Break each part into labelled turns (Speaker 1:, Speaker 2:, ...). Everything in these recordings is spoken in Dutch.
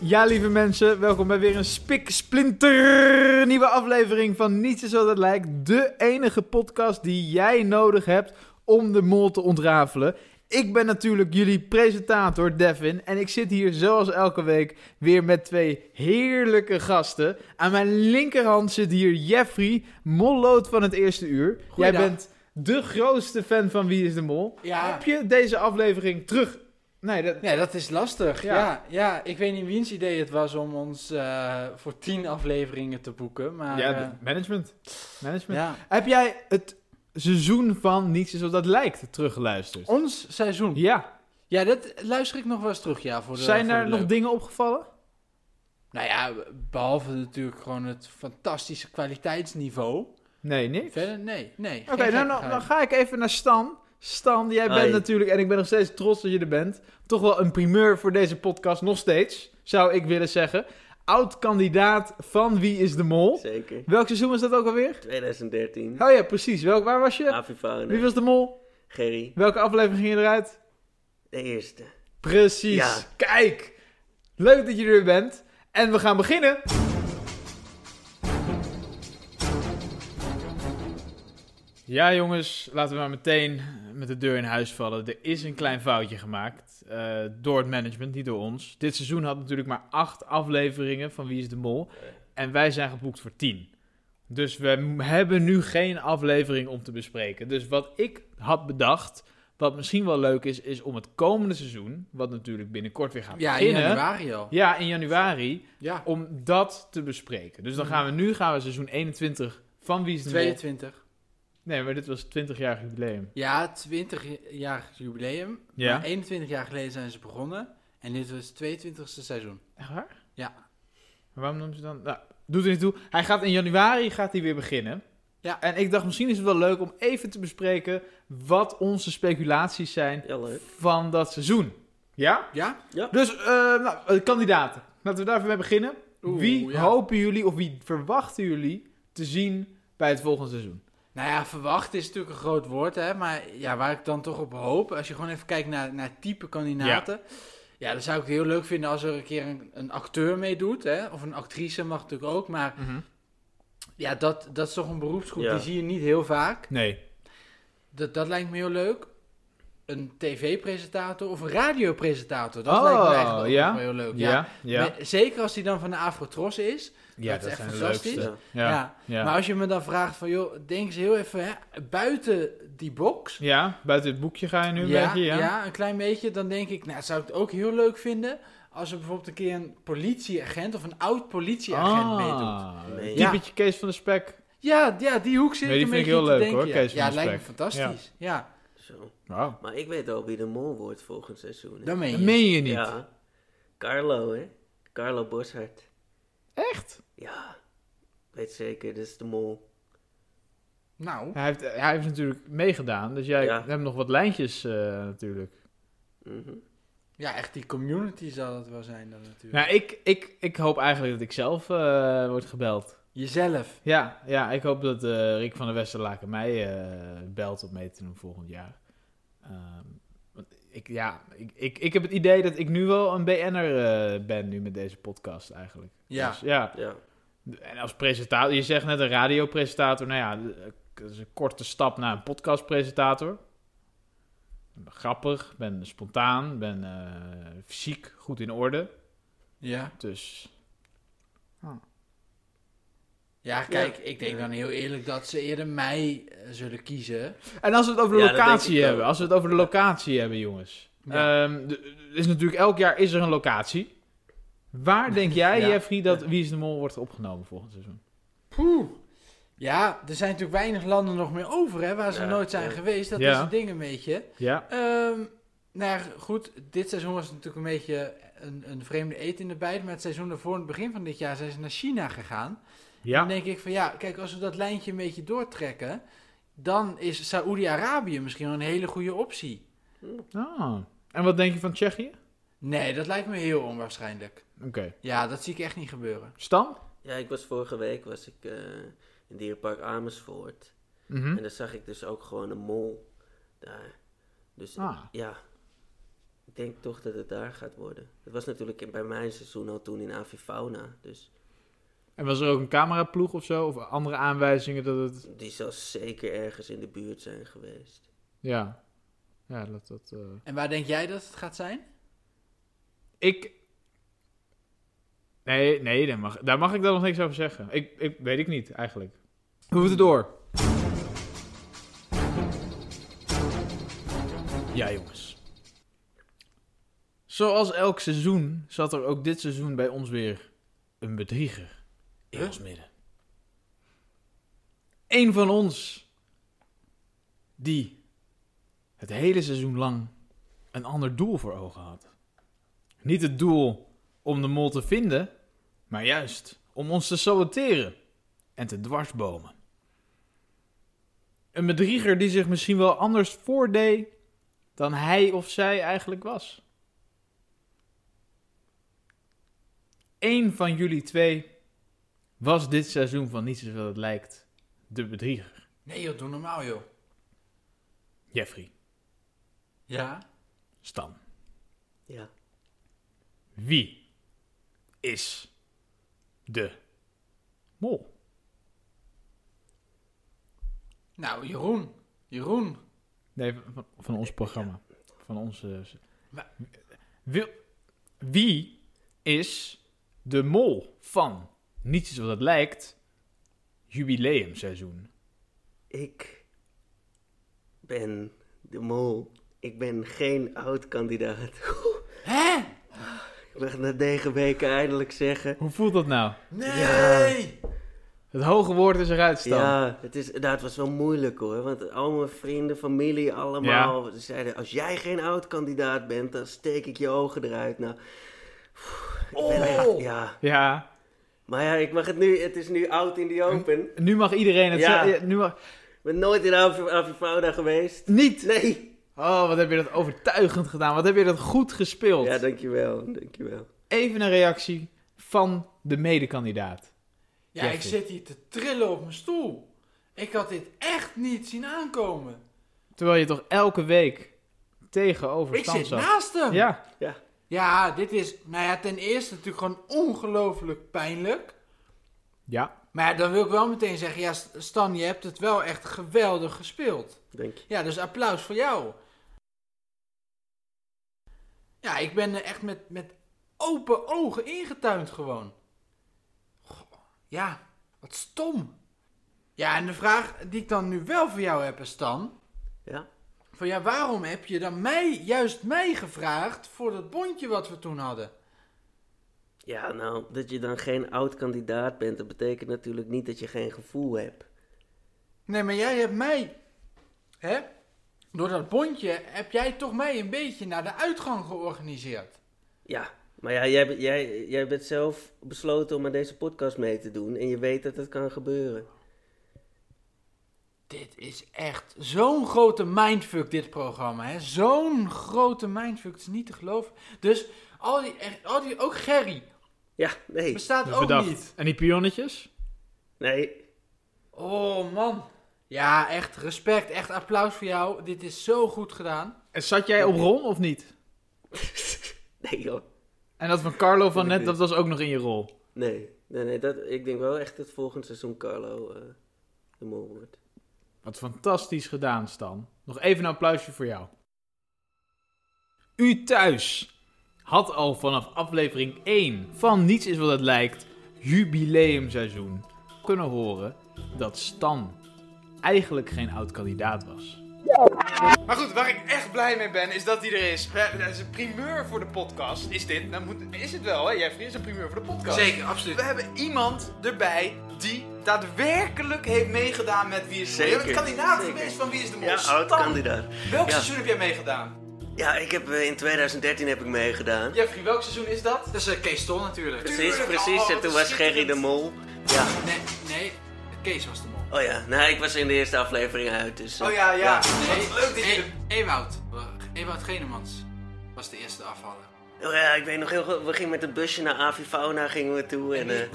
Speaker 1: Ja, lieve mensen, welkom bij weer een spiksplinter nieuwe aflevering van Niets is wat het lijkt. De enige podcast die jij nodig hebt om de mol te ontrafelen. Ik ben natuurlijk jullie presentator Devin en ik zit hier zoals elke week weer met twee heerlijke gasten. Aan mijn linkerhand zit hier Jeffrey, mollood van het eerste uur. Jij
Speaker 2: Goeiedag.
Speaker 1: bent de grootste fan van Wie is de Mol.
Speaker 2: Ja.
Speaker 1: Heb je deze aflevering terug... Nee, dat...
Speaker 2: Nee, dat is lastig.
Speaker 1: Ja.
Speaker 2: Ja. Ja, ik weet niet wiens idee het was om ons eh, voor tien afleveringen te boeken. Maar
Speaker 1: ja,
Speaker 2: eh,
Speaker 1: de- management. Management.
Speaker 2: ja.
Speaker 1: Heb jij het seizoen van Niets is wat dat lijkt teruggeluisterd?
Speaker 2: ons seizoen.
Speaker 1: Ja.
Speaker 2: Ja, dat luister ik nog wel eens terug. Ja, voor de,
Speaker 1: Zijn
Speaker 2: voor de
Speaker 1: daar nog
Speaker 2: leuk.
Speaker 1: dingen opgevallen?
Speaker 2: Nou ja, behalve natuurlijk gewoon het fantastische kwaliteitsniveau.
Speaker 1: Nee, niks.
Speaker 2: Verder, nee, nee.
Speaker 1: Oké, nou, nou, dan ga ik even naar Stan. Stan, jij bent
Speaker 3: Hoi.
Speaker 1: natuurlijk, en ik ben nog steeds trots dat je er bent, toch wel een primeur voor deze podcast, nog steeds, zou ik willen zeggen. Oud-kandidaat van Wie is de Mol.
Speaker 3: Zeker.
Speaker 1: Welk seizoen was dat ook alweer?
Speaker 3: 2013.
Speaker 1: Oh ja, precies. Welk, waar was je? Wie
Speaker 3: Avifone.
Speaker 1: was de Mol?
Speaker 3: Gerry.
Speaker 1: Welke aflevering ging je eruit?
Speaker 3: De eerste.
Speaker 1: Precies.
Speaker 3: Ja.
Speaker 1: Kijk, leuk dat je er weer bent. En we gaan beginnen. Ja, jongens, laten we maar meteen met de deur in huis vallen. Er is een klein foutje gemaakt eh, door het management, niet door ons. Dit seizoen had natuurlijk maar acht afleveringen van Wie is de Mol. En wij zijn geboekt voor tien. Dus we m- hebben nu geen aflevering om te bespreken. Dus wat ik had bedacht, wat misschien wel leuk is, is om het komende seizoen, wat natuurlijk binnenkort weer gaat
Speaker 2: Ja, in
Speaker 1: beginnen.
Speaker 2: januari al.
Speaker 1: Ja, in januari,
Speaker 2: Ja,
Speaker 1: om dat te bespreken.
Speaker 2: Mm.
Speaker 1: Dus dan gaan we nu gaan we seizoen 21 van Wie is de Mol
Speaker 2: 22.
Speaker 1: Nee, maar dit was 20-jarig jubileum.
Speaker 2: Ja, 20 jaar jubileum.
Speaker 1: Ja.
Speaker 2: Maar 21 jaar geleden zijn ze begonnen. En dit was het 22e seizoen.
Speaker 1: Echt waar?
Speaker 2: Ja.
Speaker 1: Maar waarom noemen ze dan... Nou, doet er niet toe. Hij gaat in januari gaat hij weer beginnen.
Speaker 2: Ja.
Speaker 1: En ik dacht, misschien is het wel leuk om even te bespreken wat onze speculaties zijn
Speaker 3: Ja, leuk.
Speaker 1: van dat seizoen. Ja?
Speaker 2: Ja?
Speaker 1: Dus, eh, nou, eh, kandidaten. Laten we daar even mee beginnen.
Speaker 2: Oeh,
Speaker 1: wie
Speaker 2: ja.
Speaker 1: hopen jullie, of wie verwachten jullie te zien bij het volgende seizoen?
Speaker 2: Nou ja, verwacht is natuurlijk een groot woord, hè. Maar ja, waar ik dan toch op hoop, als je gewoon even kijkt naar, naar type kandidaten. Ja. dan zou ik het heel leuk vinden als er een keer een, een acteur meedoet, hè. Of een actrice mag natuurlijk ook. Maar ja, dat, dat is toch een beroepsgroep,
Speaker 3: Ja.
Speaker 2: die zie je niet heel vaak.
Speaker 1: Nee.
Speaker 2: Dat, dat lijkt me heel leuk. Een tv-presentator of een radiopresentator. Dat
Speaker 1: Oh,
Speaker 2: lijkt me eigenlijk ook
Speaker 1: ja?
Speaker 2: wel heel leuk. Ja.
Speaker 1: Ja? Ja,
Speaker 2: Me- Zeker als die dan van de Afrotros is.
Speaker 1: ja
Speaker 2: dat is
Speaker 1: dat
Speaker 2: echt
Speaker 1: zijn de
Speaker 2: fantastisch.
Speaker 1: leukste.
Speaker 3: Ja.
Speaker 1: Ja. Ja.
Speaker 2: Ja. Maar als je me dan vraagt van, joh, denk eens heel even hè, buiten die box.
Speaker 1: Ja, buiten het boekje ga je nu een beetje, ja?
Speaker 2: een klein beetje. Dan denk ik, nou, zou ik het ook heel leuk vinden als er bijvoorbeeld een keer een politieagent of een oud politieagent
Speaker 1: Ah.
Speaker 2: meedoet.
Speaker 3: Nee.
Speaker 1: Typetje Kees van de Spek.
Speaker 2: Ja, ja, die hoek zit
Speaker 1: Nee, die
Speaker 2: een
Speaker 1: vind ik
Speaker 2: beetje
Speaker 1: heel
Speaker 2: te
Speaker 1: leuk,
Speaker 2: denken,
Speaker 1: hoor,
Speaker 2: ja.
Speaker 1: Kees van
Speaker 2: ja,
Speaker 1: de
Speaker 2: lijkt me
Speaker 1: Spek.
Speaker 2: fantastisch. Ja,
Speaker 3: Zo.
Speaker 1: Wauw.
Speaker 3: Maar ik weet al wie de mol wordt volgend seizoen. hè.
Speaker 2: dan meen
Speaker 1: Dat
Speaker 2: je.
Speaker 1: meen je niet.
Speaker 3: Ja. Carlo, hè? Carlo Boshart.
Speaker 1: Echt?
Speaker 3: Ja. Ik weet zeker, dit is de mol.
Speaker 2: Nou,
Speaker 1: Hij heeft, hij heeft natuurlijk meegedaan, dus jij
Speaker 3: Ja.
Speaker 1: hebt nog wat lijntjes eh, natuurlijk.
Speaker 3: Mhm.
Speaker 2: ja, echt die community zal het wel zijn dan natuurlijk.
Speaker 1: Nou, ik, ik, ik hoop eigenlijk dat ik zelf eh, word gebeld.
Speaker 2: Jezelf.
Speaker 1: Ja, ja, ik hoop dat eh, Rick van der Westerlaken mij eh, belt om mee te doen volgend jaar. Ehm, want ik, ja, ik, ik, ik heb het idee dat ik nu wel een BN'er eh, ben nu met deze podcast eigenlijk.
Speaker 2: Ja.
Speaker 1: Dus, ja.
Speaker 3: Ja.
Speaker 1: En als presentator, je zegt net een radiopresentator. Nou ja, dat is een korte stap naar een podcastpresentator. Ik ben grappig, ik ben spontaan, ik ben eh, fysiek goed in orde.
Speaker 2: Ja.
Speaker 1: Dus
Speaker 2: Ja, kijk, ik denk
Speaker 3: Ja.
Speaker 2: dan heel eerlijk dat ze eerder mij eh, zullen kiezen.
Speaker 1: En als we het over de
Speaker 3: Ja, dat denk ik
Speaker 1: locatie
Speaker 3: wel.
Speaker 1: hebben, als we het over de locatie hebben, jongens.
Speaker 2: Ja.
Speaker 1: Ehm, d- d- is natuurlijk elk jaar is er een locatie. Waar denk jij,
Speaker 2: Ja.
Speaker 1: Jeffrey, dat Wie is de Mol wordt opgenomen volgend seizoen?
Speaker 2: Poeh. Ja, er zijn natuurlijk weinig landen nog meer over, hè, waar ze
Speaker 3: Ja,
Speaker 2: nooit zijn
Speaker 3: ja.
Speaker 2: geweest. Dat
Speaker 1: Ja.
Speaker 2: is het ding een beetje.
Speaker 1: Ja.
Speaker 2: Ehm, nou ja, goed, dit seizoen was natuurlijk een beetje een, een vreemde eet in de bijt. Maar het seizoen daarvoor, in het begin van dit jaar, zijn ze naar China gegaan. Dan
Speaker 1: Ja.
Speaker 2: denk ik van ja, kijk, als we dat lijntje een beetje doortrekken, dan is Saoedi-Arabië misschien wel een hele goede optie.
Speaker 1: Ah. En wat denk je van Tsjechië?
Speaker 2: Nee, dat lijkt me heel onwaarschijnlijk.
Speaker 1: Oké.
Speaker 2: Ja, dat zie ik echt niet gebeuren.
Speaker 1: Stan?
Speaker 3: Ja, ik was vorige week was ik eh, in dierenpark Amersfoort.
Speaker 1: Mhm.
Speaker 3: En daar zag ik dus ook gewoon een mol daar. Dus
Speaker 1: Ah.
Speaker 3: ja. ik denk toch dat het daar gaat worden. Dat was natuurlijk in- bij mijn seizoen al toen in Avifauna. Dus
Speaker 1: En was er ook een cameraploeg of zo? Of andere aanwijzingen dat het...
Speaker 3: die zal zeker ergens in de buurt zijn geweest.
Speaker 1: Ja. Ja, dat... dat eh.
Speaker 2: En waar denk jij dat het gaat zijn?
Speaker 1: Ik... Nee, nee daar, mag, daar mag ik dan nog niks over zeggen. Ik, ik weet ik niet, eigenlijk. We moeten door. Ja, jongens. Zoals elk seizoen zat er ook dit seizoen bij ons weer een bedrieger in
Speaker 2: Huh?
Speaker 1: ons midden. Eén van ons die het hele seizoen lang een ander doel voor ogen had. Niet het doel om de mol te vinden, maar juist om ons te saboteren en te dwarsbomen. Een bedrieger die zich misschien wel anders voordeed dan hij of zij eigenlijk was. Eén van jullie twee was dit seizoen van niet zoveel het lijkt de bedrieger.
Speaker 2: Nee joh, doe normaal joh.
Speaker 1: Jeffrey,
Speaker 2: Ja?
Speaker 1: Stan,
Speaker 3: Ja.
Speaker 1: wie is de mol?
Speaker 2: Nou, Jeroen. Jeroen.
Speaker 1: Nee, van, van ons programma. Van onze...
Speaker 2: Maar-
Speaker 1: Wil- wie is de mol van, niet zoals het lijkt, jubileumseizoen?
Speaker 3: Ik ben de mol. Ik ben geen oud kandidaat.
Speaker 2: Hè?
Speaker 3: Ik mag na negen weken eindelijk zeggen.
Speaker 1: Hoe voelt dat nou?
Speaker 2: Nee!
Speaker 1: Het hoge woord is eruit, Stan.
Speaker 3: Ja, het, is, nou, het was wel moeilijk hoor. Want al mijn vrienden, familie, allemaal ze zeiden: Als jij geen oud kandidaat bent, dan steek ik je ogen eruit. Nou,
Speaker 2: Oh.
Speaker 3: ik ben echt- ja.
Speaker 1: Ja,
Speaker 3: Maar ja, ik mag het nu, het is nu oud in the open.
Speaker 1: nu mag iedereen het
Speaker 3: Ja.
Speaker 1: zeggen. Ja, nu mag...
Speaker 3: Ik ben nooit in Avi- Avivauda geweest.
Speaker 1: Niet!
Speaker 3: Nee.
Speaker 1: Oh, wat heb je dat overtuigend gedaan. Wat heb je dat goed gespeeld.
Speaker 3: Ja, dankjewel, dankjewel.
Speaker 1: Even een reactie van de medekandidaat.
Speaker 2: Ja, ik
Speaker 1: Jeffrey.
Speaker 2: zit hier te trillen op mijn stoel. Ik had dit echt niet zien aankomen.
Speaker 1: Terwijl je toch elke week tegenover
Speaker 2: Ik
Speaker 1: Stan
Speaker 2: zit
Speaker 1: zat.
Speaker 2: naast hem.
Speaker 1: Ja,
Speaker 2: Ja, dit is, nou ja, ten eerste natuurlijk gewoon ongelooflijk pijnlijk.
Speaker 1: ja.
Speaker 2: Maar ja, dan wil ik wel meteen zeggen, ja, S- Stan, je hebt het wel echt geweldig gespeeld.
Speaker 3: Dank je.
Speaker 2: Ja, dus applaus voor jou. Ja, ik ben eh, echt met, met open ogen ingetuind gewoon. Goh, ja, wat stom. Ja, en de vraag die ik dan nu wel voor jou heb, Stan.
Speaker 3: Ja.
Speaker 2: Van ja, waarom heb je dan mij, juist mij gevraagd voor dat bondje wat we toen hadden?
Speaker 3: Ja, nou, dat je dan geen oud kandidaat bent, dat betekent natuurlijk niet dat je geen gevoel hebt.
Speaker 2: Nee, maar jij hebt mij, hè? Door dat bondje heb jij toch mij een beetje naar de uitgang georganiseerd.
Speaker 3: Ja, maar ja, jij, bent- jij, jij bent zelf besloten om aan deze podcast mee te doen en je weet dat het kan gebeuren.
Speaker 2: Dit is echt zo'n grote mindfuck, dit programma. hè. Zo'n grote mindfuck, het is niet te geloven. Dus al die, echt- al die ook Gerry,
Speaker 3: Ja, nee,
Speaker 2: bestaat ook
Speaker 1: Bedacht.
Speaker 2: niet.
Speaker 1: En die pionnetjes?
Speaker 3: nee,
Speaker 2: Oh man. Ja, echt respect, echt applaus voor jou. Dit is zo goed gedaan.
Speaker 1: En zat jij op Ron of niet?
Speaker 3: nee joh.
Speaker 1: En dat van Carlo van net,
Speaker 3: niet.
Speaker 1: dat was ook nog in je rol.
Speaker 3: Nee, nee, nee dat, ik denk wel echt dat volgend seizoen Carlo eh, de mol wordt.
Speaker 1: Wat fantastisch gedaan, Stan. Nog even een applausje voor jou. U thuis had al vanaf aflevering 1 van Niets is wat het lijkt, jubileumseizoen, kunnen horen dat Stan eigenlijk geen oud kandidaat was. Maar goed, waar ik echt blij mee ben, is dat hij er is. Eh, Dat is een primeur voor de podcast, is dit. Nou moet, is het wel, hè Jeffrey? Is een primeur voor de podcast.
Speaker 2: absoluut.
Speaker 1: We hebben iemand erbij die daadwerkelijk heeft meegedaan met Wie is de Mol. Je bent
Speaker 3: Zeker,
Speaker 1: kandidaat
Speaker 3: zeker.
Speaker 1: geweest van Wie is de Mol.
Speaker 3: Ja, oud
Speaker 1: Stan,
Speaker 3: kandidaat.
Speaker 1: welk
Speaker 3: Ja.
Speaker 1: seizoen heb jij meegedaan?
Speaker 3: Ja, ik heb eh, in 2013 heb ik meegedaan.
Speaker 1: Jeffrey, welk seizoen is dat?
Speaker 2: Dat is eh, Kees Tol natuurlijk.
Speaker 3: Precies,
Speaker 1: tuurlijk.
Speaker 3: precies.
Speaker 1: Oh,
Speaker 3: En toen
Speaker 1: wat
Speaker 3: was Gerry de
Speaker 1: schitterend.
Speaker 3: mol. Ja.
Speaker 2: Nee, nee, Kees was de man.
Speaker 3: Oh ja, nou, ik was in de eerste aflevering uit, dus... eh,
Speaker 1: Oh ja, ja.
Speaker 2: Nee,
Speaker 1: Wat leuk dat je...
Speaker 2: E- Ewout. Ewout Genemans was de eerste afvaller.
Speaker 3: Oh ja, ik weet nog heel goed. We gingen met een busje naar Avifauna gingen we toe en... eh,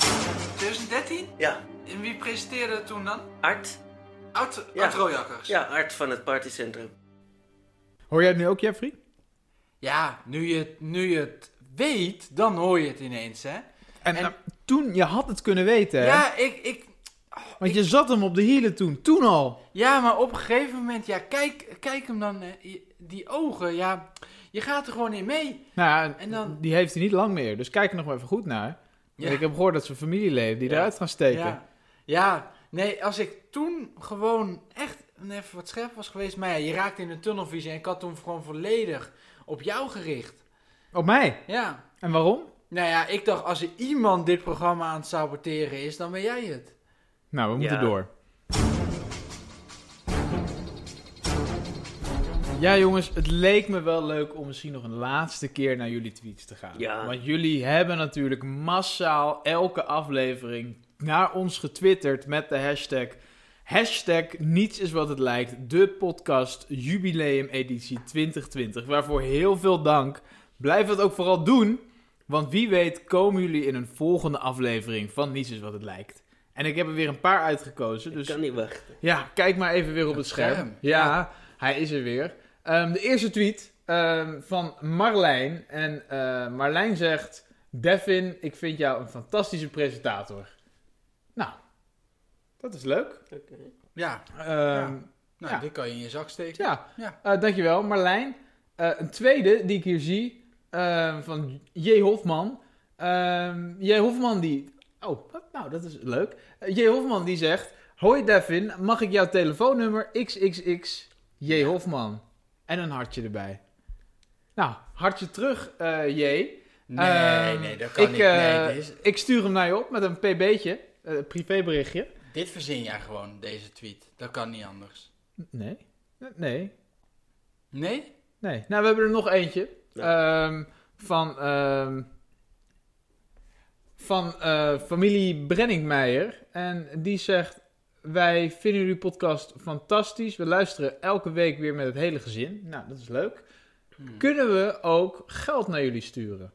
Speaker 2: 2013?
Speaker 3: ja,
Speaker 2: En wie presenteerde het toen dan?
Speaker 3: Art.
Speaker 2: Oud,
Speaker 3: Ja.
Speaker 2: Oud Rooijakkers.
Speaker 3: Ja, Art van het partycentrum.
Speaker 1: Hoor jij het nu ook, Jeffrey?
Speaker 2: Ja, nu je, het- nu je het weet, dan hoor je het ineens, hè?
Speaker 1: En,
Speaker 2: En-
Speaker 1: eh, toen, je had het kunnen weten, hè?
Speaker 2: Ja, ik, ik,
Speaker 1: Want je zat hem op de hielen toen, toen al.
Speaker 2: ja, maar op een gegeven moment, ja, kijk, kijk hem dan, eh, je- die ogen, ja, je gaat er gewoon in mee.
Speaker 1: Nou ja, en
Speaker 2: En dan-
Speaker 1: die heeft hij niet lang meer, dus kijk er nog maar even goed naar.
Speaker 2: Ja.
Speaker 1: Want Ik heb gehoord dat zijn familieleden die
Speaker 2: Ja.
Speaker 1: eruit gaan steken.
Speaker 2: Ja, ja, nee, als ik toen gewoon echt even wat scherp was geweest, maar ja, je raakte in een tunnelvisie en ik had toen gewoon volledig op jou gericht.
Speaker 1: Op mij.
Speaker 2: Ja,
Speaker 1: En waarom?
Speaker 2: nou ja, ik dacht, als er iemand dit programma aan het saboteren is, dan ben jij het.
Speaker 1: Nou, we moeten
Speaker 3: Ja.
Speaker 1: door. Ja, jongens, het leek me wel leuk om misschien nog een laatste keer naar jullie tweets te gaan.
Speaker 3: Ja.
Speaker 1: Want jullie hebben natuurlijk massaal elke aflevering naar ons getwitterd met de hashtag. Hashtag niets is wat het lijkt. De podcast Jubileum Editie 2020. Waarvoor heel veel dank. Blijf dat ook vooral doen. Want wie weet komen jullie in een volgende aflevering van Niets is wat het lijkt. En ik heb er weer een paar uitgekozen.
Speaker 3: Ik
Speaker 1: Dus
Speaker 3: kan niet wachten.
Speaker 1: ja, kijk maar even weer op het
Speaker 2: Het
Speaker 1: scherm.
Speaker 2: scherm.
Speaker 1: Ja, hij is er weer. Ehm, de eerste tweet ehm, van Marlijn. En eh, Marlijn zegt... Devin, ik vind jou een fantastische presentator. Nou, dat is leuk.
Speaker 3: Oké.
Speaker 2: Ja,
Speaker 1: Ehm,
Speaker 2: Ja. nou,
Speaker 1: Ja.
Speaker 2: dit kan je in je zak steken.
Speaker 1: ja,
Speaker 2: Ja.
Speaker 1: Eh, dankjewel Marlijn. Eh, een tweede die ik hier zie, ehm, van J. Hofman. Ehm, J. Hofman die... Oh, wat? nou, dat is leuk. Eh, J. Hofman die zegt... Hoi Devin, mag ik jouw telefoonnummer xxx J. Hofman? En een hartje erbij. Nou, hartje terug, eh, J.
Speaker 2: Nee,
Speaker 1: Ehm,
Speaker 2: nee, dat kan
Speaker 1: ik,
Speaker 2: niet.
Speaker 1: eh,
Speaker 2: nee, dit, is-
Speaker 1: Ik stuur hem naar je op met een pb'tje, eh, privéberichtje.
Speaker 2: dit verzin jij gewoon, deze tweet. Dat kan niet anders.
Speaker 1: Nee, nee,
Speaker 2: Nee?
Speaker 1: Nee. Nou, we hebben er nog eentje. Ehm, van ehm, van eh, familie Brenningmeijer. En die zegt... Wij vinden jullie podcast fantastisch. We luisteren elke week weer met het hele gezin. Nou, dat is leuk.
Speaker 2: Hm.
Speaker 1: Kunnen we ook geld naar jullie sturen?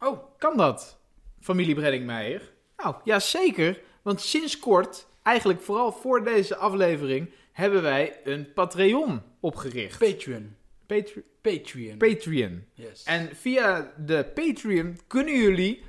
Speaker 2: Oh,
Speaker 1: Kan dat, familie Brenningmeijer? Nou, ja zeker. Want sinds kort, eigenlijk vooral voor deze aflevering... hebben wij een Patreon opgericht.
Speaker 2: Patreon.
Speaker 1: Patre-
Speaker 2: Patreon.
Speaker 1: Patreon.
Speaker 2: yes.
Speaker 1: En via de Patreon kunnen jullie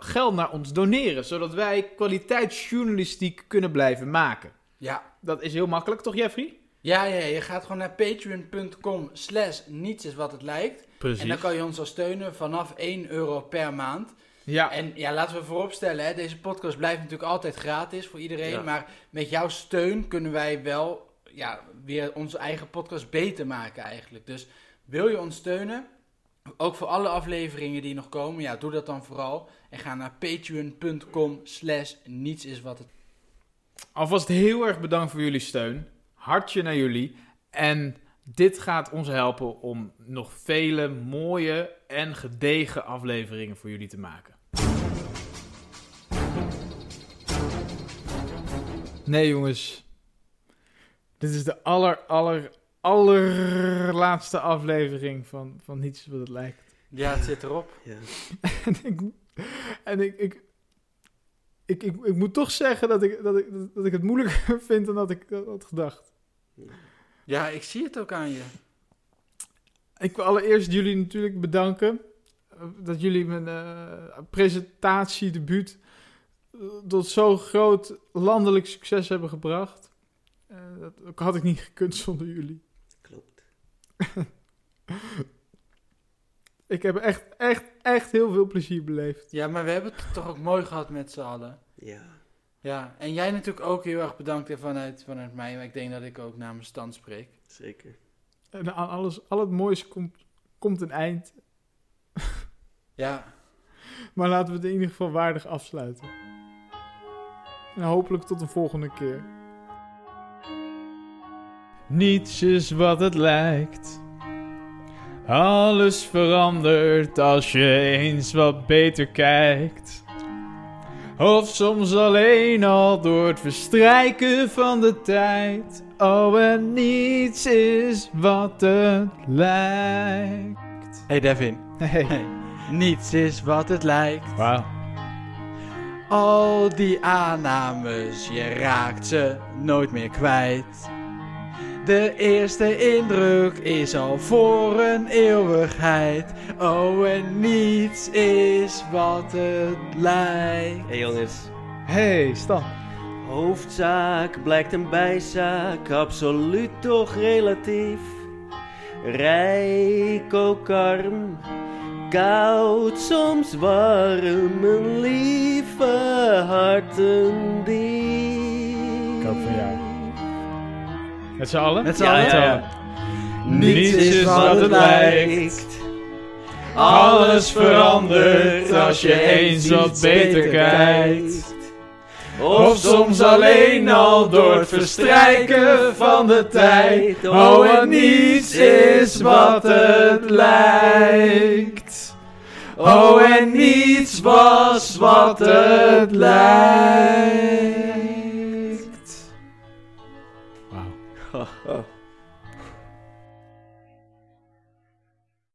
Speaker 1: geld naar ons doneren, zodat wij kwaliteitsjournalistiek kunnen blijven maken.
Speaker 2: ja.
Speaker 1: Dat is heel makkelijk, toch Jeffrey?
Speaker 2: Ja, ja, je gaat gewoon naar patreon.com slash niets is wat het lijkt.
Speaker 1: Precies.
Speaker 2: En dan kan je ons al steunen vanaf 1 euro per maand.
Speaker 1: Ja,
Speaker 2: En ja, laten we vooropstellen, hè, deze podcast blijft natuurlijk altijd gratis voor iedereen.
Speaker 3: Ja.
Speaker 2: Maar met jouw steun kunnen wij wel ja, weer onze eigen podcast beter maken eigenlijk. Dus wil je ons steunen, ook voor alle afleveringen die nog komen, ja, doe dat dan vooral. En ga naar patreon.com slash niets is wat het...
Speaker 1: alvast heel erg bedankt voor jullie steun. Hartje naar jullie. En dit gaat ons helpen om nog vele mooie en gedegen afleveringen voor jullie te maken. Nee jongens, dit is de aller, aller, allerlaatste aflevering van, van Niets Wat Het Lijkt.
Speaker 2: Ja, het zit erop.
Speaker 3: Ja.
Speaker 1: En ik, en ik, ik, ik, ik, ik moet toch zeggen dat ik, dat, ik, dat ik het moeilijker vind dan dat ik dat had gedacht.
Speaker 2: Ja, ik zie het ook aan je.
Speaker 1: Ik wil allereerst jullie natuurlijk bedanken eh, dat jullie mijn eh presentatiedebuut eh, tot zo'n groot landelijk succes hebben gebracht. Eh, dat had ik niet gekund zonder jullie.
Speaker 3: Klopt.
Speaker 1: Ik heb echt, echt, echt heel veel plezier beleefd.
Speaker 2: Ja, maar we hebben het toch ook mooi gehad met z'n allen.
Speaker 3: Ja.
Speaker 2: Ja, en jij natuurlijk ook heel erg bedankt hè, vanuit, vanuit mij. Maar ik denk dat ik ook namens Stan spreek.
Speaker 3: Zeker.
Speaker 1: En aan alles, al het moois komt, komt een eind.
Speaker 2: Ja,
Speaker 1: Maar laten we het in ieder geval waardig afsluiten. En hopelijk tot een volgende keer. Niets is wat het lijkt. Alles verandert als je eens wat beter kijkt. Of soms alleen al door het verstrijken van de tijd. Oh, en niets is wat het lijkt.
Speaker 2: Hey Devin,
Speaker 1: Hey,
Speaker 2: niets is wat het lijkt.
Speaker 1: wauw.
Speaker 2: Al die aannames, je raakt ze nooit meer kwijt. De eerste indruk is al voor een eeuwigheid. Oh, en niets is wat het lijkt.
Speaker 3: hey, jongens.
Speaker 1: Hey, Stan.
Speaker 3: Hoofdzaak blijkt een bijzaak, absoluut toch relatief. Rijk ook arm, koud soms warm, een lieve hartendief.
Speaker 1: Ik hoop van jou. Met z'n allen?
Speaker 2: Met z'n
Speaker 3: Ja,
Speaker 2: allen?
Speaker 3: ja, ja.
Speaker 1: Niets is wat het lijkt. Alles verandert als je eens wat beter kijkt. Of soms alleen al door het verstrijken van de tijd. Oh, en niets is wat het lijkt. Oh, en niets was wat het lijkt. Wauw.